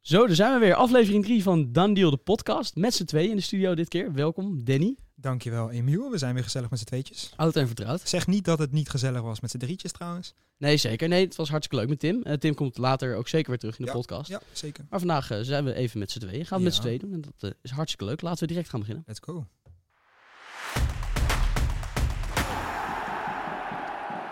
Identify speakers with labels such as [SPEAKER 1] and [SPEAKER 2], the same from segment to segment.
[SPEAKER 1] Zo, daar zijn we weer. Aflevering 3 van Dan Deal, de podcast. Met z'n twee in de studio dit keer. Welkom, Danny.
[SPEAKER 2] Dankjewel, Emiel. We zijn weer gezellig met z'n tweetjes.
[SPEAKER 1] Oud en vertrouwd.
[SPEAKER 2] Zeg niet dat het niet gezellig was met z'n drietjes trouwens.
[SPEAKER 1] Nee, zeker. Nee, het was hartstikke leuk met Tim. Eh, Tim komt later ook zeker weer terug in de
[SPEAKER 2] Ja,
[SPEAKER 1] podcast.
[SPEAKER 2] Ja, zeker.
[SPEAKER 1] Maar vandaag eh, zijn we even met z'n tweeën. Gaan we met
[SPEAKER 2] Ja.
[SPEAKER 1] z'n tweeën doen. En dat eh, is hartstikke leuk. Laten we direct gaan beginnen.
[SPEAKER 2] Let's go.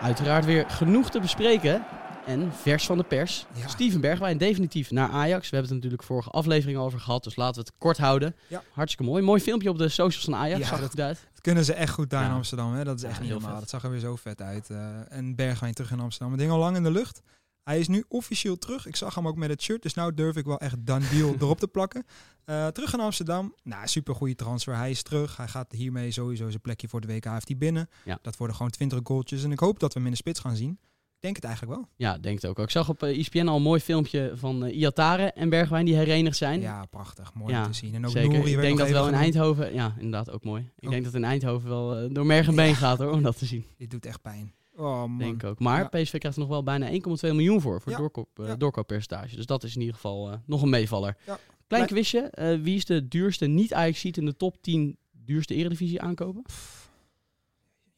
[SPEAKER 1] Uiteraard weer genoeg te bespreken. En vers van de pers.
[SPEAKER 2] Ja.
[SPEAKER 1] Steven Bergwijn definitief naar Ajax. We hebben het natuurlijk vorige aflevering over gehad. Dus laten we het kort houden.
[SPEAKER 2] Ja.
[SPEAKER 1] Hartstikke mooi. Mooi filmpje op de socials van Ajax.
[SPEAKER 2] Ja,
[SPEAKER 1] Zag er
[SPEAKER 2] dat-
[SPEAKER 1] goed uit.
[SPEAKER 2] Dat kunnen ze echt goed daar in
[SPEAKER 1] Ja.
[SPEAKER 2] Amsterdam. Hè? Dat is
[SPEAKER 1] Ja,
[SPEAKER 2] echt niet
[SPEAKER 1] heel
[SPEAKER 2] normaal.
[SPEAKER 1] vet.
[SPEAKER 2] Dat zag er weer zo vet uit. eh, en Bergwijn terug in Amsterdam. Het ding al lang in de lucht. Hij is nu officieel terug. Ik zag hem ook met het shirt. Dus nou durf ik wel echt Dan Deal erop te plakken. Eh, terug in Amsterdam. Nou, super goede transfer. Hij is terug. Hij gaat hiermee sowieso zijn plekje voor de WK heeft hij binnen.
[SPEAKER 1] Ja.
[SPEAKER 2] Dat worden gewoon 20 goaltjes. En ik hoop dat we hem in de spits gaan zien. Ik denk het eigenlijk wel.
[SPEAKER 1] Ja, denk het ook. Ik zag op eh, ESPN al een mooi filmpje van eh, Iatare en Bergwijn die herenigd zijn.
[SPEAKER 2] Ja, prachtig. Mooi
[SPEAKER 1] Ja,
[SPEAKER 2] om te zien. En ook
[SPEAKER 1] Zeker.
[SPEAKER 2] Nouri
[SPEAKER 1] Ik
[SPEAKER 2] werd
[SPEAKER 1] denk dat
[SPEAKER 2] nog even
[SPEAKER 1] wel in
[SPEAKER 2] genoemd.
[SPEAKER 1] Eindhoven... Ja, inderdaad, ook mooi. Ik
[SPEAKER 2] Ook.
[SPEAKER 1] denk dat in Eindhoven wel eh, door merg en been
[SPEAKER 2] Ja.
[SPEAKER 1] gaat hoor, om dat te zien.
[SPEAKER 2] Dit doet echt pijn. Oh man.
[SPEAKER 1] Denk ik ook. Maar
[SPEAKER 2] Ja.
[SPEAKER 1] PSV krijgt er nog wel bijna 1,2 miljoen voor, voor
[SPEAKER 2] Ja.
[SPEAKER 1] doorkoop, eh,
[SPEAKER 2] Ja.
[SPEAKER 1] doorkooppercentage. Dus dat is in ieder geval eh, nog een meevaller.
[SPEAKER 2] Ja.
[SPEAKER 1] Klein
[SPEAKER 2] Maar-
[SPEAKER 1] quizje. eh, wie is de duurste niet ajax in de top 10 duurste eredivisie aankopen?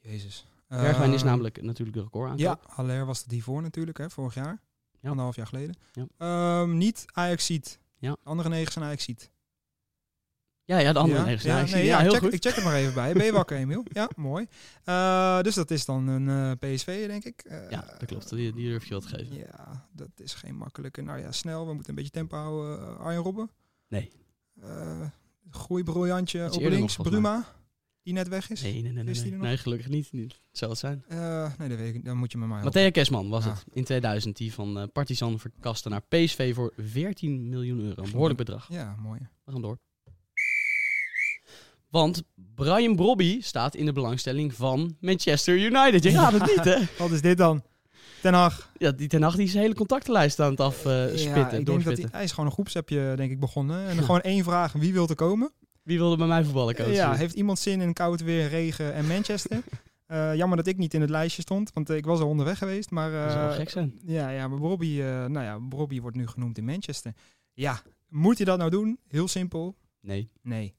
[SPEAKER 2] Jezus.
[SPEAKER 1] Bergwijn is
[SPEAKER 2] Eh,
[SPEAKER 1] namelijk natuurlijk de record aankoop.
[SPEAKER 2] Ja, Haller was dat hiervoor natuurlijk, hè, vorig jaar.
[SPEAKER 1] Ja.
[SPEAKER 2] Anderhalf jaar geleden.
[SPEAKER 1] Ja.
[SPEAKER 2] Ehm, niet ajax ziet.
[SPEAKER 1] Ja.
[SPEAKER 2] Andere negen zijn ajax ziet.
[SPEAKER 1] Ja, ja, de andere
[SPEAKER 2] ja?
[SPEAKER 1] negen zijn
[SPEAKER 2] Ja,
[SPEAKER 1] Ajax.
[SPEAKER 2] nee,
[SPEAKER 1] ja,
[SPEAKER 2] ik
[SPEAKER 1] heel
[SPEAKER 2] check,
[SPEAKER 1] goed.
[SPEAKER 2] Ik check het maar even bij. Ben je wakker, Emiel? Ja, mooi. Eh, dus dat is dan een eh, PSV, denk ik. Eh,
[SPEAKER 1] ja, dat klopt. Die, die durf je wat te geven.
[SPEAKER 2] Ja, dat is geen makkelijke. Nou ja, snel. We moeten een beetje tempo houden. Eh, Arjen Robben.
[SPEAKER 1] Nee.
[SPEAKER 2] Eh groeibriljantje
[SPEAKER 1] is
[SPEAKER 2] op
[SPEAKER 1] eerder
[SPEAKER 2] links.
[SPEAKER 1] nog, volgens mij.
[SPEAKER 2] Bruma, die net weg is.
[SPEAKER 1] Nee, nee, nee, nee,
[SPEAKER 2] Is die
[SPEAKER 1] nee.
[SPEAKER 2] er nog?
[SPEAKER 1] Nee, gelukkig niet. niet. Zou het zijn.
[SPEAKER 2] Eh, nee, dat weet ik niet. Dan moet je me maar helpen.
[SPEAKER 1] Matthea Kesman was
[SPEAKER 2] Nou. Ja.
[SPEAKER 1] het in 2000 die van eh, Partizan verkaste naar PSV voor 14 miljoen euro. Een behoorlijk bedrag.
[SPEAKER 2] Ja, mooi.
[SPEAKER 1] We gaan door. Want Brian Brobby staat in de belangstelling van Manchester United. Je raadt het niet, hè?
[SPEAKER 2] Wat is dit dan? Ten Hag.
[SPEAKER 1] Ja, die Ten Hag die is zijn hele contactenlijst aan het afspitten,
[SPEAKER 2] ja, ik denk dat hij,
[SPEAKER 1] Eh, doorspitten.
[SPEAKER 2] hij is gewoon een groepsappje, denk ik, begonnen. En dan gewoon één vraag, wie wil er komen?
[SPEAKER 1] Wie wilde bij mij voetballen, coach?
[SPEAKER 2] ja, heeft iemand zin in koud weer, regen en Manchester? Eh, jammer dat ik niet in het lijstje stond, want eh, ik was al onderweg geweest. Maar,
[SPEAKER 1] dat zou wel
[SPEAKER 2] eh,
[SPEAKER 1] gek zijn.
[SPEAKER 2] ja, ja, maar Robbie, eh, nou ja, Robbie wordt nu genoemd in Manchester. Ja, moet je dat nou doen? Heel simpel,
[SPEAKER 1] Nee.
[SPEAKER 2] nee.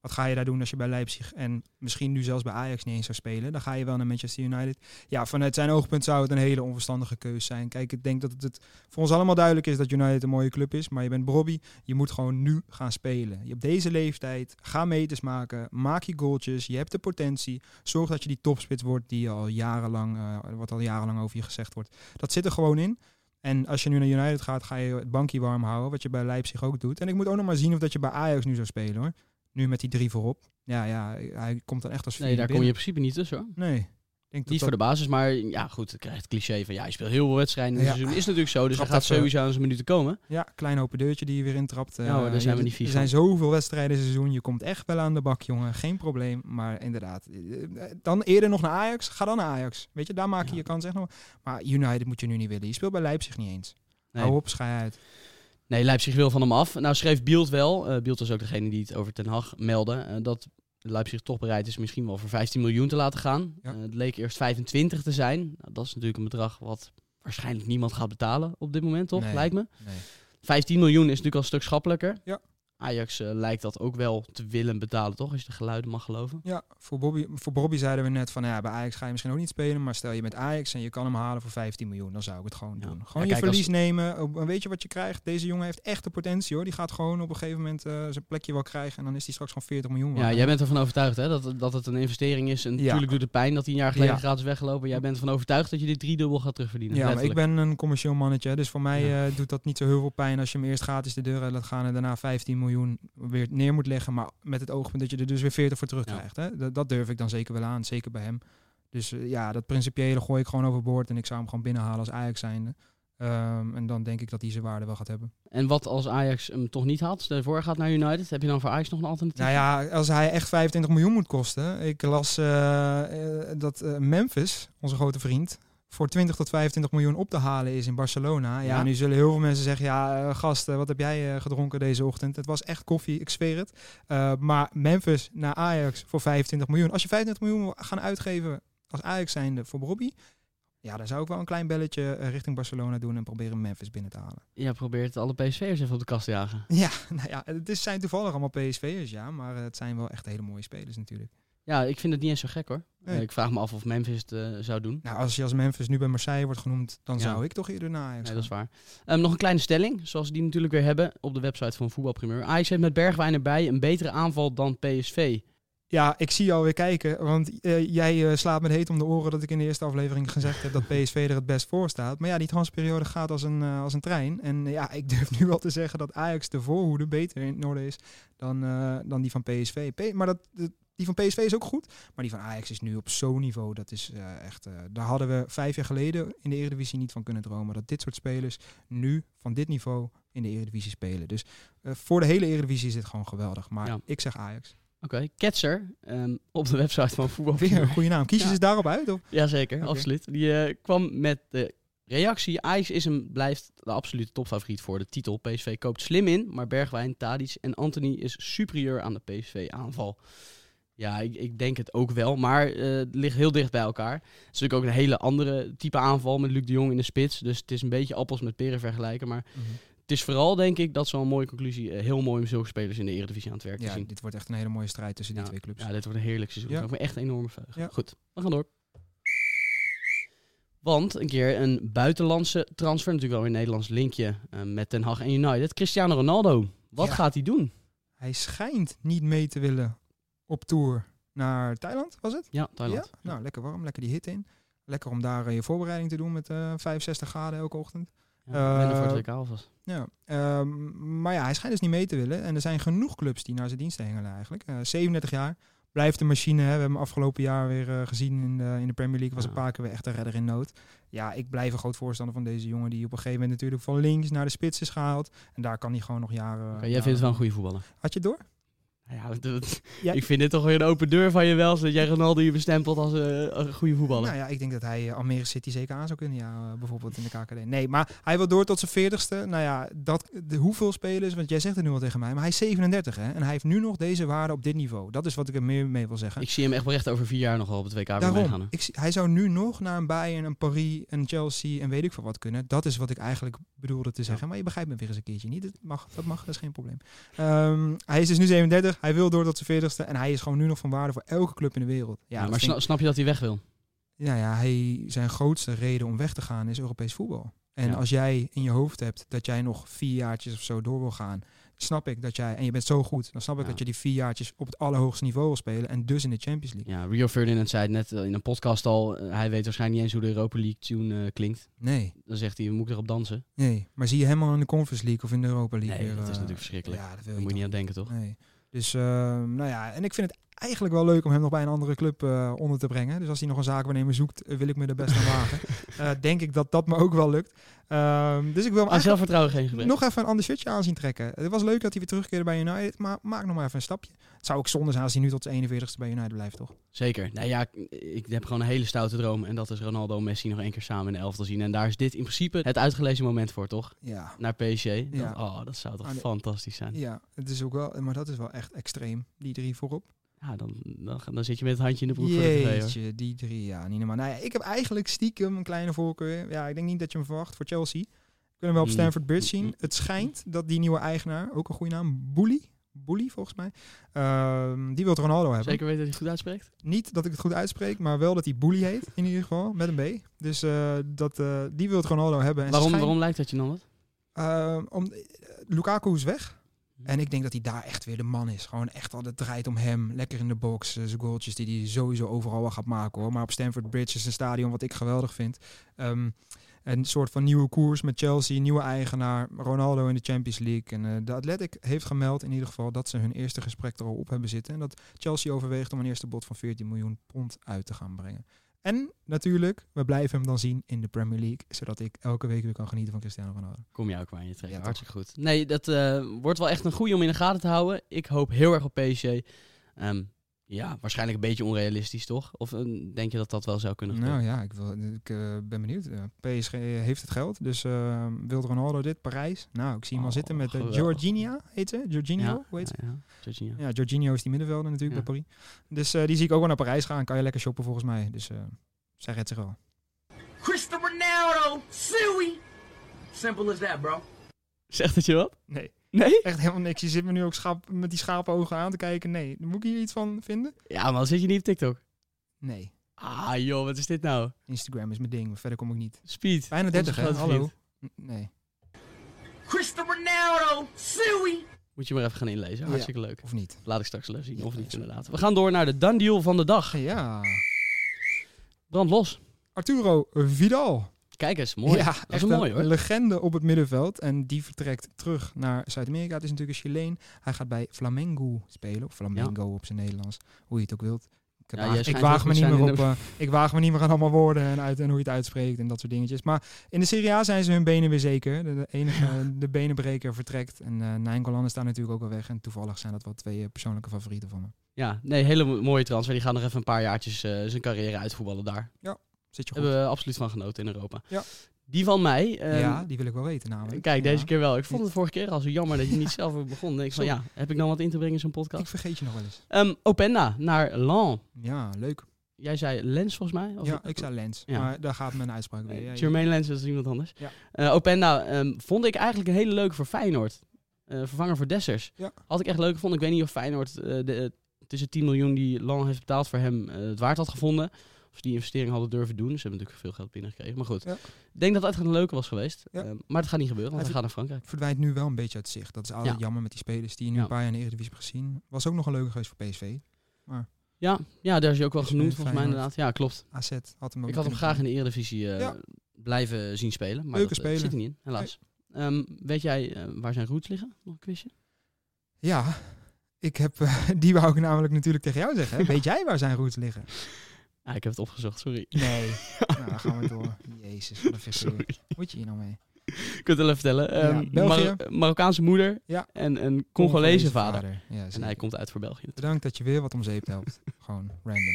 [SPEAKER 2] Wat ga je daar doen als je bij Leipzig en misschien nu zelfs bij Ajax niet eens zou spelen? Dan ga je wel naar Manchester United. Ja, vanuit zijn oogpunt zou het een hele onverstandige keus zijn. Kijk, ik denk dat het, het voor ons allemaal duidelijk is dat United een mooie club is. Maar je bent Bobby, je moet gewoon nu gaan spelen. Je hebt deze leeftijd, ga meters maken, maak je goaltjes, je hebt de potentie. Zorg dat je die topspits wordt die al jarenlang, eh, wat al jarenlang over je gezegd wordt. Dat zit er gewoon in. En als je nu naar United gaat, ga je het bankje warm houden, wat je bij Leipzig ook doet. En ik moet ook nog maar zien of dat je bij Ajax nu zou spelen hoor. Nu met die drie voorop. Ja, ja, hij komt dan echt als vierde
[SPEAKER 1] Nee, daar kom je in principe niet tussen, hoor.
[SPEAKER 2] binnen. Nee, ik denk dat
[SPEAKER 1] Niet voor
[SPEAKER 2] dat-
[SPEAKER 1] de basis, maar ja, goed, dan krijg je het cliché van ja, je speelt heel veel wedstrijden in het
[SPEAKER 2] Ja.
[SPEAKER 1] seizoen. Is natuurlijk zo, dus hij
[SPEAKER 2] Trapt
[SPEAKER 1] gaat
[SPEAKER 2] even-
[SPEAKER 1] sowieso aan zijn minuten komen.
[SPEAKER 2] Ja, klein open deurtje die je weer intrapt.
[SPEAKER 1] Ja hoor, Oh, daar
[SPEAKER 2] Eh,
[SPEAKER 1] zijn we
[SPEAKER 2] je-
[SPEAKER 1] niet vies
[SPEAKER 2] Er zijn zoveel wedstrijden in het seizoen. Je komt echt wel aan de bak, jongen. Geen probleem. Maar inderdaad, eh, eh, dan eerder nog naar Ajax. Ga dan naar Ajax. Weet je, daar maak je
[SPEAKER 1] Ja.
[SPEAKER 2] je kans echt nog. Maar United moet je nu niet willen. Je speelt bij Leipzig niet eens.
[SPEAKER 1] Nee.
[SPEAKER 2] Hou op, schei uit.
[SPEAKER 1] Nee, Leipzig wil van hem af. Nou schreef Bielt wel, eh Bielt was ook degene die het over Ten Hag meldde, eh, dat Leipzig toch bereid is misschien wel voor 15 miljoen te laten gaan.
[SPEAKER 2] Ja.
[SPEAKER 1] Eh, het leek eerst 25 te zijn. Nou, dat is natuurlijk een bedrag wat waarschijnlijk niemand gaat betalen op dit moment, toch?
[SPEAKER 2] Nee.
[SPEAKER 1] Lijkt me.
[SPEAKER 2] Nee.
[SPEAKER 1] 15 miljoen is natuurlijk al een stuk schappelijker.
[SPEAKER 2] Ja.
[SPEAKER 1] Ajax eh, lijkt dat ook wel te willen betalen, toch? Als je de geluiden mag geloven.
[SPEAKER 2] Ja, voor Bobby, voor Bobby zeiden we net van ja, bij Ajax ga je misschien ook niet spelen. Maar stel je met Ajax en je kan hem halen voor 15 miljoen, dan zou ik het gewoon
[SPEAKER 1] Ja.
[SPEAKER 2] doen.
[SPEAKER 1] Ja,
[SPEAKER 2] Gewoon je
[SPEAKER 1] kijk, als-
[SPEAKER 2] verlies nemen. Op- en Weet je wat je krijgt? Deze jongen heeft echt de potentie hoor. Die gaat gewoon op een gegeven moment eh, zijn plekje wel krijgen. En dan is hij straks gewoon 40 miljoen.
[SPEAKER 1] Ja,
[SPEAKER 2] waard.
[SPEAKER 1] jij bent ervan overtuigd hè, dat, dat het een investering is. En
[SPEAKER 2] Ja.
[SPEAKER 1] natuurlijk doet het pijn dat hij een jaar geleden
[SPEAKER 2] Ja.
[SPEAKER 1] gratis weggelopen. Jij bent ervan overtuigd dat je dit driedubbel gaat terugverdienen.
[SPEAKER 2] Ja, maar ik
[SPEAKER 1] letterlijk.
[SPEAKER 2] ben een commercieel mannetje, dus voor mij
[SPEAKER 1] Ja.
[SPEAKER 2] eh, doet dat niet zo heel veel pijn als je hem eerst gratis de deur uit laat gaan en daarna 15 miljoen weer neer moet leggen. Maar met het oogpunt dat je er dus weer 40 voor terugkrijgt. Hè? Dat, dat durf ik dan zeker wel aan, zeker bij hem. Dus eh, ja, dat principiële gooi ik gewoon overboord en ik zou hem gewoon binnenhalen als Ajax zijnde. Ehm, en dan denk ik dat hij zijn waarde wel gaat hebben.
[SPEAKER 1] En wat als Ajax hem toch niet haalt? Stel je voor, hij gaat naar United. Heb je dan voor Ajax nog een alternatief?
[SPEAKER 2] Nou ja, als hij echt 25 miljoen moet kosten. Ik las eh, eh, dat eh, Memphis, onze grote vriend, voor 20 tot 25 miljoen op te halen is in Barcelona. Ja,
[SPEAKER 1] Ja.
[SPEAKER 2] nu zullen heel veel mensen zeggen, ja, eh, gast, eh, wat heb jij eh, gedronken deze ochtend? Het was echt koffie, ik zweer het. Eh, maar Memphis naar Ajax voor 25 miljoen. Als je 25 miljoen wil gaan uitgeven als Ajax zijnde voor Robbie, Ja, dan zou ik wel een klein belletje eh, richting Barcelona doen en proberen Memphis binnen te halen.
[SPEAKER 1] Ja, probeert alle PSV'ers even op de kast te jagen.
[SPEAKER 2] Ja, nou ja, het is, zijn toevallig allemaal PSV'ers, ja. Maar eh, het zijn wel echt hele mooie spelers natuurlijk.
[SPEAKER 1] Ja, ik vind het niet eens zo gek hoor.
[SPEAKER 2] Nee.
[SPEAKER 1] Eh, Ik vraag me af of Memphis het eh, zou doen.
[SPEAKER 2] Nou, als je als Memphis nu bij Marseille wordt genoemd, dan
[SPEAKER 1] Ja.
[SPEAKER 2] zou ik toch eerder naar Ajax
[SPEAKER 1] Nee,
[SPEAKER 2] gaan.
[SPEAKER 1] dat is waar. Ehm, nog een kleine stelling, zoals we die natuurlijk weer hebben op de website van Voetbalprimeur. Ajax heeft met Bergwijn erbij een betere aanval dan PSV.
[SPEAKER 2] Ja, ik zie jou weer kijken. Want eh, jij eh, slaat me heet om de oren dat ik in de eerste aflevering gezegd heb dat PSV er het best voor staat. Maar ja, die transperiode gaat als een, eh, als een trein. En eh, ja, ik durf nu wel te zeggen dat Ajax de voorhoede beter in het noorden is dan, eh, dan die van PSV. P- maar dat, dat- die van PSV is ook goed. Maar die van Ajax is nu op zo'n niveau. Dat is eh, echt. eh, daar hadden we vijf jaar geleden in de Eredivisie niet van kunnen dromen. Dat dit soort spelers nu van dit niveau in de Eredivisie spelen. Dus eh, voor de hele Eredivisie is dit gewoon geweldig. Maar
[SPEAKER 1] Ja.
[SPEAKER 2] ik zeg Ajax.
[SPEAKER 1] Oké, Ketser ehm, op de website van
[SPEAKER 2] Weer een
[SPEAKER 1] Voetbalprimeur.
[SPEAKER 2] goede naam. Kies je
[SPEAKER 1] Ja.
[SPEAKER 2] ze daarop uit? Of?
[SPEAKER 1] Jazeker,
[SPEAKER 2] Oké.
[SPEAKER 1] absoluut. Die eh, kwam met de reactie. Ajax is en blijft de absolute topfavoriet voor de titel. PSV koopt slim in, maar Bergwijn, Tadic en Anthony is superieur aan de PSV-aanval. Ja, ik, ik denk het ook wel, maar eh, het ligt heel dicht bij elkaar. Het is natuurlijk ook een hele andere type aanval met Luc de Jong in de spits. Dus het is een beetje appels met peren vergelijken. Maar het is vooral, denk ik, dat is wel een mooie conclusie. eh, heel mooi om zulke spelers in de Eredivisie aan het werk te
[SPEAKER 2] Ja,
[SPEAKER 1] zien.
[SPEAKER 2] dit wordt echt een hele mooie strijd tussen die
[SPEAKER 1] Ja,
[SPEAKER 2] twee clubs.
[SPEAKER 1] Ja, dit wordt een heerlijk seizoen.
[SPEAKER 2] Ja.
[SPEAKER 1] Ik me echt een enorme vreugde.
[SPEAKER 2] Ja.
[SPEAKER 1] Goed, we gaan door. Want een keer een buitenlandse transfer, natuurlijk wel weer een Nederlands linkje eh, met Den Haag en United. Cristiano Ronaldo, wat
[SPEAKER 2] Ja.
[SPEAKER 1] gaat hij doen?
[SPEAKER 2] Hij schijnt niet mee te willen op tour naar Thailand, was het?
[SPEAKER 1] Ja, Thailand.
[SPEAKER 2] Ja? Nou, lekker warm, lekker die hitte in. Lekker om daar eh, je voorbereiding te doen met eh 65 graden elke ochtend.
[SPEAKER 1] Ja, ik ben er voor
[SPEAKER 2] eh,
[SPEAKER 1] het WK alvast.
[SPEAKER 2] Ja, ehm, maar ja, hij schijnt dus niet mee te willen. En er zijn genoeg clubs die naar zijn diensten hengelen eigenlijk. Eh 37 jaar, blijft de machine. Hè. We hebben hem afgelopen jaar weer eh, gezien in de, in de Premier League. Was
[SPEAKER 1] Ja.
[SPEAKER 2] een paar keer weer echt een redder in nood. Ja, ik blijf een groot voorstander van deze jongen. Die op een gegeven moment natuurlijk van links naar de spits is gehaald. En daar kan hij gewoon nog jaren... eh,
[SPEAKER 1] Oké, jij vindt het wel een goede voetballer.
[SPEAKER 2] Had je het door?
[SPEAKER 1] Ja, dat- dat-
[SPEAKER 2] Ja.
[SPEAKER 1] Ik vind dit toch weer een open deur van je wel, zodat jij Ronaldo je bestempelt als eh, een goede voetballer.
[SPEAKER 2] Nou ja, ik denk dat hij eh, Almere City zeker aan zou kunnen. Ja, eh, bijvoorbeeld in de KKD. Nee, maar hij wil door tot zijn veertigste. Nou ja, dat, de, hoeveel spelers, want jij zegt het nu al tegen mij. Maar hij is 37 hè. En hij heeft nu nog deze waarde op dit niveau. Dat is wat ik er meer mee wil zeggen.
[SPEAKER 1] Ik zie hem echt oprecht over vier jaar nog wel op het WK weer meegaan.
[SPEAKER 2] Daarom,
[SPEAKER 1] hè.
[SPEAKER 2] ik, zie- hij zou nu nog naar een Bayern, een Paris, een Chelsea en weet ik veel wat kunnen. Dat is wat ik eigenlijk bedoelde te zeggen. Maar je begrijpt me weer eens een keertje niet. Dat mag, dat mag, dat is geen probleem. Ehm, hij is dus nu 37, hij wil door tot zijn 40ste en hij is gewoon nu nog van waarde voor elke club in de wereld. Ja,
[SPEAKER 1] Ja,
[SPEAKER 2] dat
[SPEAKER 1] maar
[SPEAKER 2] vind
[SPEAKER 1] sna-
[SPEAKER 2] ik-
[SPEAKER 1] snap je dat hij weg wil?
[SPEAKER 2] nou ja, hij, zijn grootste reden om weg te gaan is Europees voetbal. En
[SPEAKER 1] Ja.
[SPEAKER 2] als jij in je hoofd hebt dat jij nog vier jaartjes of zo door wil gaan, snap ik dat jij, en je bent zo goed, dan snap ik
[SPEAKER 1] Ja.
[SPEAKER 2] dat je die vier jaartjes op het allerhoogste niveau wil spelen en dus in de Champions League.
[SPEAKER 1] Ja, Rio Ferdinand zei het net eh, in een podcast al. eh, Hij weet waarschijnlijk niet eens hoe de Europa League tune eh, klinkt.
[SPEAKER 2] Nee.
[SPEAKER 1] Dan zegt hij, moet ik erop dansen?
[SPEAKER 2] Nee, maar zie je hem al in de Conference League of in de Europa League?
[SPEAKER 1] Nee,
[SPEAKER 2] weer,
[SPEAKER 1] dat is
[SPEAKER 2] eh,
[SPEAKER 1] natuurlijk verschrikkelijk.
[SPEAKER 2] Ja, dat wil
[SPEAKER 1] Daar
[SPEAKER 2] je
[SPEAKER 1] moet je niet
[SPEAKER 2] toch
[SPEAKER 1] aan denken, toch?
[SPEAKER 2] Nee. Dus, ehm, nou ja, en ik vind het eigenlijk wel leuk om hem nog bij een andere club eh, onder te brengen. Dus als hij nog een zaakwaarnemer zoekt, eh, wil ik me er best aan wagen. Eh, denk ik dat dat me ook wel lukt. Ehm, dus ik wil hem
[SPEAKER 1] Aan
[SPEAKER 2] eigenlijk
[SPEAKER 1] Ah, zelfvertrouwen geen gebrek.
[SPEAKER 2] nog even een ander shirtje aan zien trekken. Het was leuk dat hij weer terugkeerde bij United, maar maak nog maar even een stapje. Het zou ook zonde zijn als hij nu tot zijn 41ste bij United blijft, toch?
[SPEAKER 1] Zeker. Nou ja, ik, ik heb gewoon een hele stoute droom. En dat is Ronaldo en Messi nog één keer samen in de elftal zien. En daar is dit in principe het uitgelezen moment voor, toch?
[SPEAKER 2] Ja.
[SPEAKER 1] Naar PSG. Dat-
[SPEAKER 2] Ja.
[SPEAKER 1] oh, dat zou toch
[SPEAKER 2] Ah, nee.
[SPEAKER 1] fantastisch zijn.
[SPEAKER 2] Ja, het is ook wel, maar dat is wel echt extreem, die drie voorop.
[SPEAKER 1] Ja, dan, dan, dan zit je met het handje in de broek voor de tv, hoor.
[SPEAKER 2] Jeetje, die drie, ja, niet normaal. Nou ja, ik heb eigenlijk stiekem een kleine voorkeur. Ja, ik denk niet dat je hem verwacht voor Chelsea. Kunnen we op
[SPEAKER 1] Mm.
[SPEAKER 2] Stanford Bridge
[SPEAKER 1] Mm.
[SPEAKER 2] zien. Het schijnt dat die nieuwe eigenaar, ook een goede naam, Bouli, Bouli volgens mij, ehm, die wil Ronaldo hebben.
[SPEAKER 1] Zeker weten dat hij het goed uitspreekt?
[SPEAKER 2] Niet dat ik het goed uitspreek, maar wel dat hij Bouli heet, in ieder geval, met een B. Dus eh, dat, eh, die wil Ronaldo hebben. En ze
[SPEAKER 1] Waarom,
[SPEAKER 2] schijn-
[SPEAKER 1] waarom lijkt dat je dan wat?
[SPEAKER 2] Ehm, om, eh, Lukaku is weg. En ik denk dat hij daar echt weer de man is. Gewoon echt al, het draait om hem. Lekker in de box. eh, zijn goaltjes die hij sowieso overal wel gaat maken hoor. Maar op Stamford Bridge is een stadion wat ik geweldig vind. Ehm, een soort van nieuwe koers met Chelsea, nieuwe eigenaar. Ronaldo in de Champions League. En eh, de Athletic heeft gemeld in ieder geval dat ze hun eerste gesprek er al op hebben zitten. En dat Chelsea overweegt om een eerste bod van 14 miljoen pond uit te gaan brengen. En natuurlijk, we blijven hem dan zien in de Premier League. Zodat ik elke week weer kan genieten van Cristiano Ronaldo.
[SPEAKER 1] Kom je ook maar in je trek.
[SPEAKER 2] Ja, toch.
[SPEAKER 1] Hartstikke goed. Nee, dat eh, wordt wel echt een goeie om in de gaten te houden. Ik hoop heel erg op PSG. Ehm, ja, waarschijnlijk een beetje onrealistisch, toch? Of eh, denk je dat dat wel zou kunnen gebeuren?
[SPEAKER 2] Nou ja, ik, wil, ik eh, ben benieuwd. Eh, PSG heeft het geld, dus eh, wil Ronaldo dit? Parijs? Nou, ik zie hem al
[SPEAKER 1] Oh,
[SPEAKER 2] zitten met eh,
[SPEAKER 1] geweldig.
[SPEAKER 2] Jorginho, heet ze? Jorginho, hoe heet ze?
[SPEAKER 1] ja, ja. Jorginho.
[SPEAKER 2] Ja, Jorginho is die middenvelder natuurlijk
[SPEAKER 1] Ja.
[SPEAKER 2] bij Paris. Dus eh, die zie ik ook wel naar Parijs gaan. Kan je lekker shoppen volgens mij. Dus eh zij redt zich wel.
[SPEAKER 3] Cristiano Ronaldo, Suey. Simple as that, bro.
[SPEAKER 1] Zegt het je wat?
[SPEAKER 2] Nee,
[SPEAKER 1] Nee?
[SPEAKER 2] echt helemaal niks. Je zit me nu ook schaap, met die schapenogen aan te kijken. Nee, moet ik hier iets van vinden?
[SPEAKER 1] Ja, maar zit je niet op TikTok?
[SPEAKER 2] Nee,
[SPEAKER 1] Ah joh, wat is dit nou?
[SPEAKER 2] Instagram is mijn ding, maar verder kom ik niet.
[SPEAKER 1] Speed.
[SPEAKER 2] Bijna
[SPEAKER 1] Onze
[SPEAKER 2] 30, hè?
[SPEAKER 1] grote
[SPEAKER 2] Hallo.
[SPEAKER 1] vriend.
[SPEAKER 2] N- Nee,
[SPEAKER 3] Cristiano Ronaldo, Suey.
[SPEAKER 1] Moet je maar even gaan inlezen. Hartstikke leuk.
[SPEAKER 2] of niet?
[SPEAKER 1] Laat ik straks wel zien.
[SPEAKER 2] Ja,
[SPEAKER 1] Of niet,
[SPEAKER 2] is goed.
[SPEAKER 1] inderdaad. We gaan door naar de done deal van de dag.
[SPEAKER 2] Ja.
[SPEAKER 1] Brand los.
[SPEAKER 2] Arturo Vidal.
[SPEAKER 1] Kijk eens, mooi.
[SPEAKER 2] Ja,
[SPEAKER 1] is
[SPEAKER 2] echt
[SPEAKER 1] mooi, hoor.
[SPEAKER 2] een legende op het middenveld. En die vertrekt terug naar Zuid-Amerika. Het is natuurlijk een Chileen. Hij gaat bij Flamengo spelen. Of Flamengo op zijn Nederlands. Hoe je het ook wilt. Ik,
[SPEAKER 1] Ja,
[SPEAKER 2] waag-
[SPEAKER 1] jij
[SPEAKER 2] ik
[SPEAKER 1] schijnt
[SPEAKER 2] waag
[SPEAKER 1] heel
[SPEAKER 2] me
[SPEAKER 1] goed
[SPEAKER 2] niet meer
[SPEAKER 1] zijn
[SPEAKER 2] op.
[SPEAKER 1] in
[SPEAKER 2] eh, ik waag me niet meer aan allemaal woorden en, uit, en hoe je het uitspreekt en dat soort dingetjes. Maar in de Serie A zijn ze hun benen weer zeker. De, de enige de benenbreker vertrekt. En eh Nijngolan is daar natuurlijk ook al weg. En toevallig zijn dat wel twee eh, persoonlijke favorieten van me.
[SPEAKER 1] Ja, nee, hele mo- mooie transfer. Die gaan nog even een paar jaartjes eh, zijn carrière uitvoetballen daar.
[SPEAKER 2] Zit je goed?
[SPEAKER 1] Hebben we absoluut van genoten in Europa.
[SPEAKER 2] Ja.
[SPEAKER 1] Die van mij. ehm,
[SPEAKER 2] ja, die wil ik wel weten namelijk.
[SPEAKER 1] Kijk,
[SPEAKER 2] Ja.
[SPEAKER 1] deze keer wel. Ik vond het vorige keer al zo jammer dat je niet zelf over begon. Ik van ja, heb ik dan wat in te brengen in zo'n
[SPEAKER 2] Ik
[SPEAKER 1] podcast?
[SPEAKER 2] vergeet je nog wel eens.
[SPEAKER 1] Ehm, Openda naar Lan.
[SPEAKER 2] Ja, leuk.
[SPEAKER 1] Jij zei Lens volgens mij? Of
[SPEAKER 2] Ja, ik zei Lens.
[SPEAKER 1] Ja.
[SPEAKER 2] Maar daar gaat mijn uitspraak weer.
[SPEAKER 1] Nee,
[SPEAKER 2] Ja, ja.
[SPEAKER 1] Jermaine Lens dat is iemand anders.
[SPEAKER 2] Ja.
[SPEAKER 1] Eh, Openda ehm, vond ik eigenlijk een hele leuke voor Feyenoord. Eh, vervanger voor Dessers.
[SPEAKER 2] Ja.
[SPEAKER 1] Had ik echt leuk gevonden. Ik weet niet of Feyenoord eh, de, eh, tussen 10 miljoen die Lang heeft betaald voor hem eh, het waard had gevonden. Of ze die investering hadden durven doen. Ze hebben natuurlijk veel geld binnengekregen. Maar goed.
[SPEAKER 2] Ja.
[SPEAKER 1] Ik denk dat het echt een leuke was geweest.
[SPEAKER 2] Ja.
[SPEAKER 1] Ehm, maar het gaat niet gebeuren, want hij
[SPEAKER 2] Hij
[SPEAKER 1] gaat naar Frankrijk.
[SPEAKER 2] verdwijnt nu wel een beetje uit zicht. Dat is altijd
[SPEAKER 1] Ja.
[SPEAKER 2] jammer met die spelers die je nu
[SPEAKER 1] Ja.
[SPEAKER 2] een paar jaar in de Eredivisie hebt gezien. Was ook nog een leuke geweest voor PSV.
[SPEAKER 1] Ja, ja, daar is je ook wel
[SPEAKER 2] Is
[SPEAKER 1] genoemd
[SPEAKER 2] bij
[SPEAKER 1] volgens mij
[SPEAKER 2] Feyenoord.
[SPEAKER 1] inderdaad. Ja, klopt.
[SPEAKER 2] AZ had hem ook
[SPEAKER 1] Ik had hem
[SPEAKER 2] kunnen
[SPEAKER 1] graag in de Eredivisie eh,
[SPEAKER 2] Ja.
[SPEAKER 1] blijven zien spelen. Maar
[SPEAKER 2] Leuke
[SPEAKER 1] dat, eh, zit
[SPEAKER 2] speler.
[SPEAKER 1] er niet in, helaas. Ehm, weet jij eh, waar zijn roots liggen? Nog een quizje?
[SPEAKER 2] Ja, ik heb, eh, die wou ik namelijk natuurlijk tegen jou zeggen. Weet jij waar zijn roots liggen?
[SPEAKER 1] Ah, ik heb het opgezocht, sorry.
[SPEAKER 2] Nee. nou, dan gaan we door. Jezus, wat een vissen
[SPEAKER 1] Sorry.
[SPEAKER 2] weer. Moet je hier nou mee?
[SPEAKER 1] Ik kan het wel even vertellen. Ehm,
[SPEAKER 2] Ja, België.
[SPEAKER 1] Mar- Marokkaanse moeder
[SPEAKER 2] Ja.
[SPEAKER 1] en een Congolese vader.
[SPEAKER 2] Ja,
[SPEAKER 1] En
[SPEAKER 2] zeker.
[SPEAKER 1] hij komt uit voor België.
[SPEAKER 2] Bedankt dat je weer wat om zeep helpt. Gewoon random.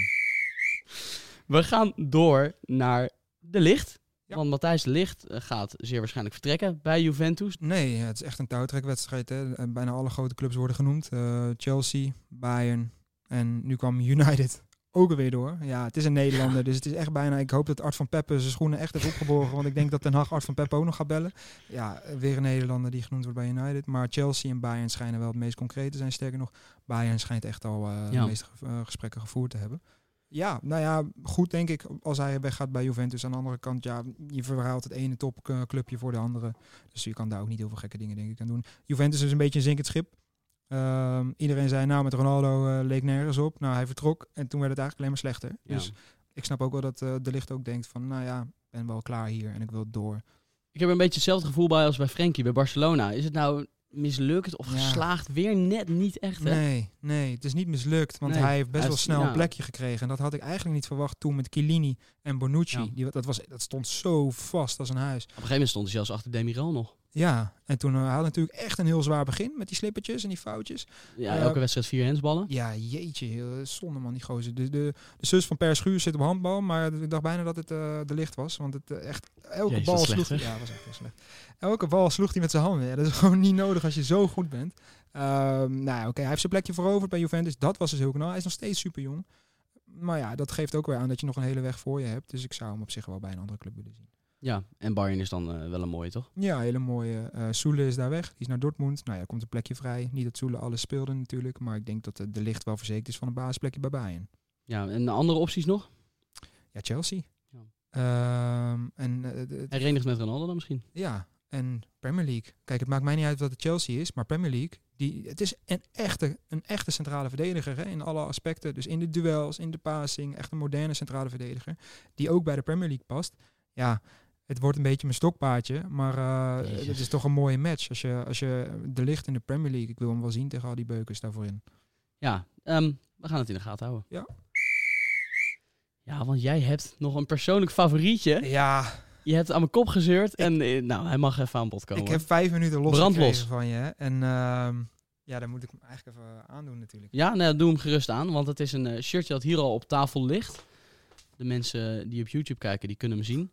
[SPEAKER 1] We gaan door naar De Licht.
[SPEAKER 2] Ja.
[SPEAKER 1] Want Matthijs De Licht eh, gaat zeer waarschijnlijk vertrekken bij Juventus.
[SPEAKER 2] Nee, het is echt een touwtrekwedstrijd. Hè. En Bijna alle grote clubs worden genoemd. Eh, Chelsea, Bayern en nu kwam United ook alweer door. Ja, het is een Nederlander, dus het is echt bijna... Ik hoop dat Art van Peppe zijn schoenen echt heeft opgeborgen. Want ik denk dat Den Haag Art van Peppe ook nog gaat bellen. Ja, eh, weer een Nederlander die genoemd wordt bij United. Maar Chelsea en Bayern schijnen wel het meest concreet te zijn. Sterker nog, Bayern schijnt echt al eh,
[SPEAKER 1] Ja.
[SPEAKER 2] de meeste ge- eh, gesprekken gevoerd te hebben. Ja, nou ja, goed denk ik als hij weggaat bij Juventus. Aan de andere kant, ja, je verhaalt het ene topclubje voor de andere. Dus je kan daar ook niet heel veel gekke dingen denk ik aan doen. Juventus is een beetje een zinkend schip. Ehm, iedereen zei nou met Ronaldo eh, leek nergens op. Nou hij vertrok en toen werd het eigenlijk alleen maar slechter.
[SPEAKER 1] Ja.
[SPEAKER 2] Dus ik snap ook wel dat eh, de licht ook denkt van nou ja, ik ben wel klaar hier en ik wil door.
[SPEAKER 1] Ik heb er een beetje hetzelfde gevoel bij als bij Frenkie bij Barcelona. Is het nou mislukt of
[SPEAKER 2] Ja.
[SPEAKER 1] geslaagd? Weer net niet echt, hè?
[SPEAKER 2] Nee, nee, het is niet mislukt. Want
[SPEAKER 1] Nee,
[SPEAKER 2] hij heeft best
[SPEAKER 1] hij
[SPEAKER 2] wel
[SPEAKER 1] is-
[SPEAKER 2] snel
[SPEAKER 1] ja.
[SPEAKER 2] een plekje gekregen. En dat had ik eigenlijk niet verwacht toen met Chiellini en Bonucci.
[SPEAKER 1] Ja.
[SPEAKER 2] Die, dat, was, dat stond zo vast als een huis.
[SPEAKER 1] Op een gegeven moment stond hij zelfs achter Demiral nog.
[SPEAKER 2] Ja, en toen eh, hij had natuurlijk echt een heel zwaar begin met die slippertjes en die foutjes.
[SPEAKER 1] Ja,
[SPEAKER 2] Ja.
[SPEAKER 1] elke wedstrijd vier handsballen.
[SPEAKER 2] Ja, jeetje, heel zonde man, die gozer. De, de, de zus van Per Schuur zit op handbal, maar ik dacht bijna dat het eh, de licht was. Want het, eh, echt, elke
[SPEAKER 1] Jezus,
[SPEAKER 2] bal
[SPEAKER 1] wat slecht,
[SPEAKER 2] sloeg hij. Ja, was echt heel slecht. Elke bal sloeg hij met zijn handen. Ja, dat is gewoon niet nodig als je zo goed bent. Ehm, nou, ja, oké, hij heeft zijn plekje veroverd bij Juventus. Dat was dus heel knal. Hij is nog steeds super jong. Maar ja, dat geeft ook weer aan dat je nog een hele weg voor je hebt. Dus ik zou hem op zich wel bij een andere club willen zien.
[SPEAKER 1] Ja, en Bayern is dan eh, wel een mooie, toch?
[SPEAKER 2] Ja, hele mooie. eh Soele is daar weg. Die is naar Dortmund. Nou ja, komt een plekje vrij. Niet dat Soele alles speelde natuurlijk. Maar ik denk dat eh, de licht wel verzekerd is van een basisplekje bij Bayern.
[SPEAKER 1] Ja, en andere opties nog?
[SPEAKER 2] Ja, Chelsea.
[SPEAKER 1] Ja.
[SPEAKER 2] Ehm, en, eh, de- de-
[SPEAKER 1] Herenigd met Ronaldo dan misschien?
[SPEAKER 2] ja, en Premier League. Kijk, het maakt mij niet uit wat het Chelsea is, maar Premier League, die, het is een echte, een echte centrale verdediger hè, in alle aspecten. Dus in de duels, in de passing, echt een moderne centrale verdediger, die ook bij de Premier League past. Ja, het wordt een beetje mijn stokpaardje, maar eh,
[SPEAKER 1] Jezus.
[SPEAKER 2] het is toch een mooie match als je, als je de licht in de Premier League, ik wil hem wel zien tegen al die beukers daarvoor in.
[SPEAKER 1] Ja, ehm, we gaan het in de gaten houden.
[SPEAKER 2] Ja.
[SPEAKER 1] Ja, want jij hebt nog een persoonlijk favorietje.
[SPEAKER 2] Ja,
[SPEAKER 1] Je hebt aan mijn kop gezeurd en eh, nou, hij mag even aan bod komen.
[SPEAKER 2] Ik heb vijf minuten los
[SPEAKER 1] Brand
[SPEAKER 2] gekregen
[SPEAKER 1] los.
[SPEAKER 2] van je. hè. En ehm, ja, dan moet ik hem eigenlijk even aandoen natuurlijk.
[SPEAKER 1] Ja, nou, doe hem gerust aan, want het is een eh, shirtje dat hier al op tafel ligt. De mensen die op YouTube kijken, die kunnen hem zien.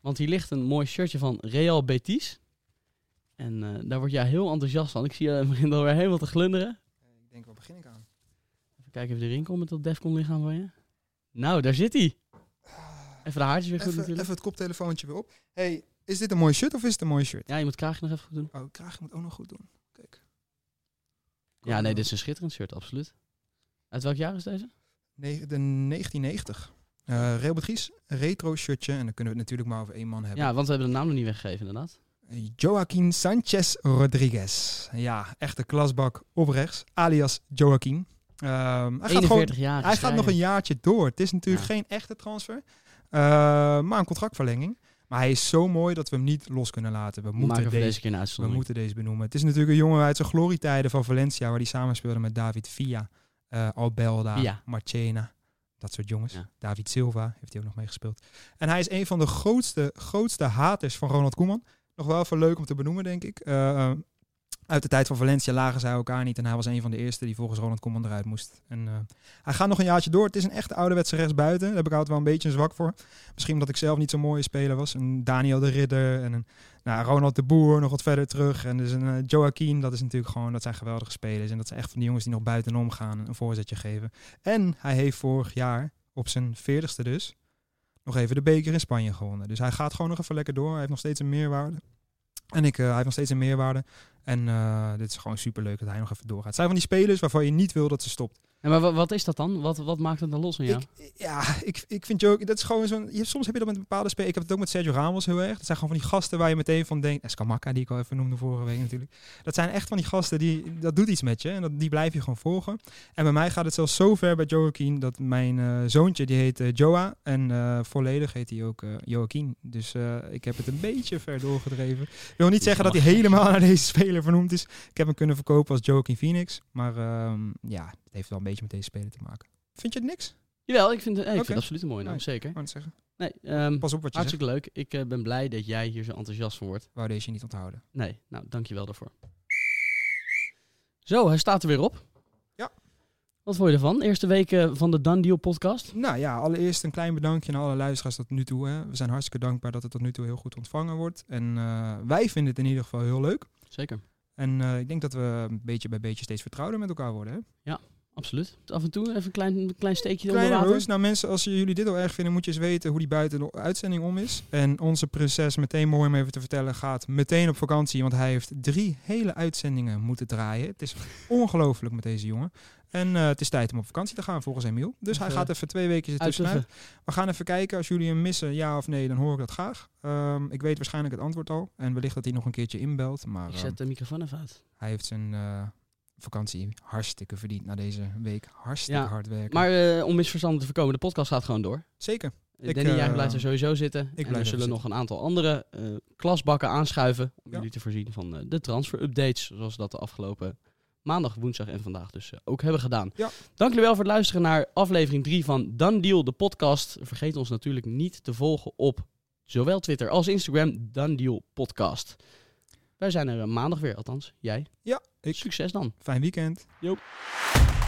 [SPEAKER 1] Want hier ligt een mooi shirtje van Real Betis. En eh, daar word jij heel enthousiast van. Ik zie je begint alweer helemaal te glunderen.
[SPEAKER 2] Eh, ik denk, waar begin ik aan?
[SPEAKER 1] Even kijken of je erin komt met dat Defcon lichaam van je. Nou, daar zit hij.
[SPEAKER 2] Ah,
[SPEAKER 1] Even de haartjes weer goed
[SPEAKER 2] Even,
[SPEAKER 1] natuurlijk.
[SPEAKER 2] even het koptelefoontje weer op. hey, is dit een mooi shirt of is het een mooi shirt?
[SPEAKER 1] Ja, je moet het kraagje nog even goed doen.
[SPEAKER 2] Oh, kraag moet ook nog goed doen. Kijk.
[SPEAKER 1] Ja, nee, dit is een schitterend shirt, absoluut. Uit welk jaar is deze?
[SPEAKER 2] Ne- de 1990. Eh Real Betis, retro shirtje. En dan kunnen we het natuurlijk maar over één man hebben. Eh,
[SPEAKER 1] Ja, want we hebben de naam nog niet weggegeven, inderdaad.
[SPEAKER 2] Joaquin Sanchez Rodriguez. Ja, echte klasbak op rechts. Alias Joaquin. Ehm, hij gaat, gewoon,
[SPEAKER 1] 41 jaar.
[SPEAKER 2] hij gaat nog een jaartje door. Het is natuurlijk
[SPEAKER 1] Ja.
[SPEAKER 2] geen echte transfer. eh, maar een contractverlenging. Maar hij is zo mooi dat we hem niet los kunnen laten. We
[SPEAKER 1] Maken
[SPEAKER 2] moeten
[SPEAKER 1] we voor
[SPEAKER 2] deze
[SPEAKER 1] deze keer een
[SPEAKER 2] We
[SPEAKER 1] uitzondering.
[SPEAKER 2] moeten deze benoemen. Het is natuurlijk een jongen uit zijn glorietijden van Valencia, waar hij samenspeelde met David Villa, eh, Albelda,
[SPEAKER 1] Villa.
[SPEAKER 2] Marchena. Dat soort jongens.
[SPEAKER 1] Ja.
[SPEAKER 2] David Silva heeft hij ook nog meegespeeld. En hij is een van de grootste, grootste haters van Ronald Koeman. Nog wel even leuk om te benoemen, denk ik. Eh, eh, uit de tijd van Valencia lagen zij elkaar niet. En hij was een van de eerste die volgens Ronald Koeman eruit moest. En, eh, hij gaat nog een jaartje door. Het is een echte ouderwetse rechtsbuiten. Daar heb ik altijd wel een beetje een zwak voor. Misschien omdat ik zelf niet zo'n mooie speler was. Een Daniel de Ridder en een nou, Ronald de Boer nog wat verder terug. En dus een eh, Joaquin, dat is natuurlijk gewoon, dat zijn geweldige spelers. En dat zijn echt van die jongens die nog buitenom gaan en een voorzetje geven. En hij heeft vorig jaar, op zijn veertigste dus, nog even de beker in Spanje gewonnen. Dus hij gaat gewoon nog even lekker door. Hij heeft nog steeds een meerwaarde. En ik, eh, hij heeft nog steeds een meerwaarde. En eh, dit is gewoon superleuk dat hij nog even doorgaat. Het zijn van die spelers waarvan je niet wil dat ze stopt.
[SPEAKER 1] Ja, maar wa- wat is dat dan? Wat, wat maakt het dan los aan jou?
[SPEAKER 2] Ik, ja, ik, ik vind Joaquin, dat is gewoon zo'n... je- Soms heb je dat met bepaalde spelers. Ik heb het ook met Sergio Ramos heel erg. Dat zijn gewoon van die gasten waar je meteen van denkt... Escamaca, die ik al even noemde vorige week natuurlijk. Dat zijn echt van die gasten, die, dat doet iets met je. En dat, die blijf je gewoon volgen. En bij mij gaat het zelfs zo ver bij Joaquin... dat mijn eh, zoontje, die heet eh, Joa. En eh, volledig heet hij ook eh, Joaquin. Dus eh, ik heb het een beetje ver doorgedreven. Ik wil niet zeggen dat hij helemaal naar deze speler vernoemd is. Ik heb hem kunnen verkopen als Joaquin Phoenix. Maar ehm, ja, het heeft wel een beetje met deze speler te maken. Vind je het niks?
[SPEAKER 1] Jawel, ik vind, eh, ik vind
[SPEAKER 2] Oké.
[SPEAKER 1] het absoluut een mooie naam,
[SPEAKER 2] Nice.
[SPEAKER 1] zeker.
[SPEAKER 2] wou het zeggen.
[SPEAKER 1] Nee, ehm,
[SPEAKER 2] Pas op wat je zegt.
[SPEAKER 1] hartstikke leuk. Ik eh, ben blij dat jij hier zo enthousiast van wordt.
[SPEAKER 2] Wou deze niet onthouden.
[SPEAKER 1] Nee, nou, dankjewel daarvoor. Zo, hij staat er weer op.
[SPEAKER 2] Ja.
[SPEAKER 1] Wat vond je ervan? Eerste week eh, van de Done Deal podcast.
[SPEAKER 2] Nou ja, allereerst een klein bedankje aan alle luisteraars tot nu toe. Hè. We zijn hartstikke dankbaar dat het tot nu toe heel goed ontvangen wordt. En eh, wij vinden het in ieder geval heel leuk.
[SPEAKER 1] Zeker,
[SPEAKER 2] En eh, ik denk dat we een beetje bij beetje steeds vertrouwder met elkaar worden. Hè.
[SPEAKER 1] absoluut. Af en toe even een klein, een klein steekje onder
[SPEAKER 2] Kleine
[SPEAKER 1] water.
[SPEAKER 2] roos. Nou mensen, als jullie dit al erg vinden, moet je eens weten hoe die buiten de uitzending om is. En onze prinses, meteen mooi om even te vertellen, gaat meteen op vakantie. Want hij heeft drie hele uitzendingen moeten draaien. Het is ongelooflijk met deze jongen. En eh, het is tijd om op vakantie te gaan, volgens Emiel. Dus hij
[SPEAKER 1] Even
[SPEAKER 2] gaat even twee weken ertussenuit.
[SPEAKER 1] Uitleggen.
[SPEAKER 2] We gaan even kijken. Als jullie hem missen, ja of nee, dan hoor ik dat graag. Ehm, ik weet waarschijnlijk het antwoord al. En wellicht dat hij nog een keertje inbelt. Maar
[SPEAKER 1] Ik
[SPEAKER 2] ehm,
[SPEAKER 1] zet de microfoon even uit.
[SPEAKER 2] hij heeft zijn eh, vakantie hartstikke verdiend na deze week. Hartstikke
[SPEAKER 1] Ja,
[SPEAKER 2] hard werken.
[SPEAKER 1] Maar eh, om misverstanden te voorkomen, de podcast gaat gewoon door.
[SPEAKER 2] Zeker. Ik,
[SPEAKER 1] Ik, Danny, jij
[SPEAKER 2] eh,
[SPEAKER 1] blijft er sowieso zitten.
[SPEAKER 2] blijf
[SPEAKER 1] en er
[SPEAKER 2] even
[SPEAKER 1] zullen
[SPEAKER 2] zitten.
[SPEAKER 1] nog een aantal andere eh, klasbakken aanschuiven. Om
[SPEAKER 2] Ja.
[SPEAKER 1] jullie te voorzien van eh, de transfer-updates. Zoals we dat de afgelopen maandag, woensdag en vandaag dus eh, ook hebben gedaan.
[SPEAKER 2] Ja.
[SPEAKER 1] Dank jullie wel voor het luisteren naar aflevering 3 van Dan Deal, de podcast. Vergeet ons natuurlijk niet te volgen op zowel Twitter als Instagram. Dan Deal Podcast. Wij zijn er eh, maandag weer, althans. Jij.
[SPEAKER 2] Ja, ik.
[SPEAKER 1] Succes dan.
[SPEAKER 2] Fijn weekend.
[SPEAKER 1] Joep.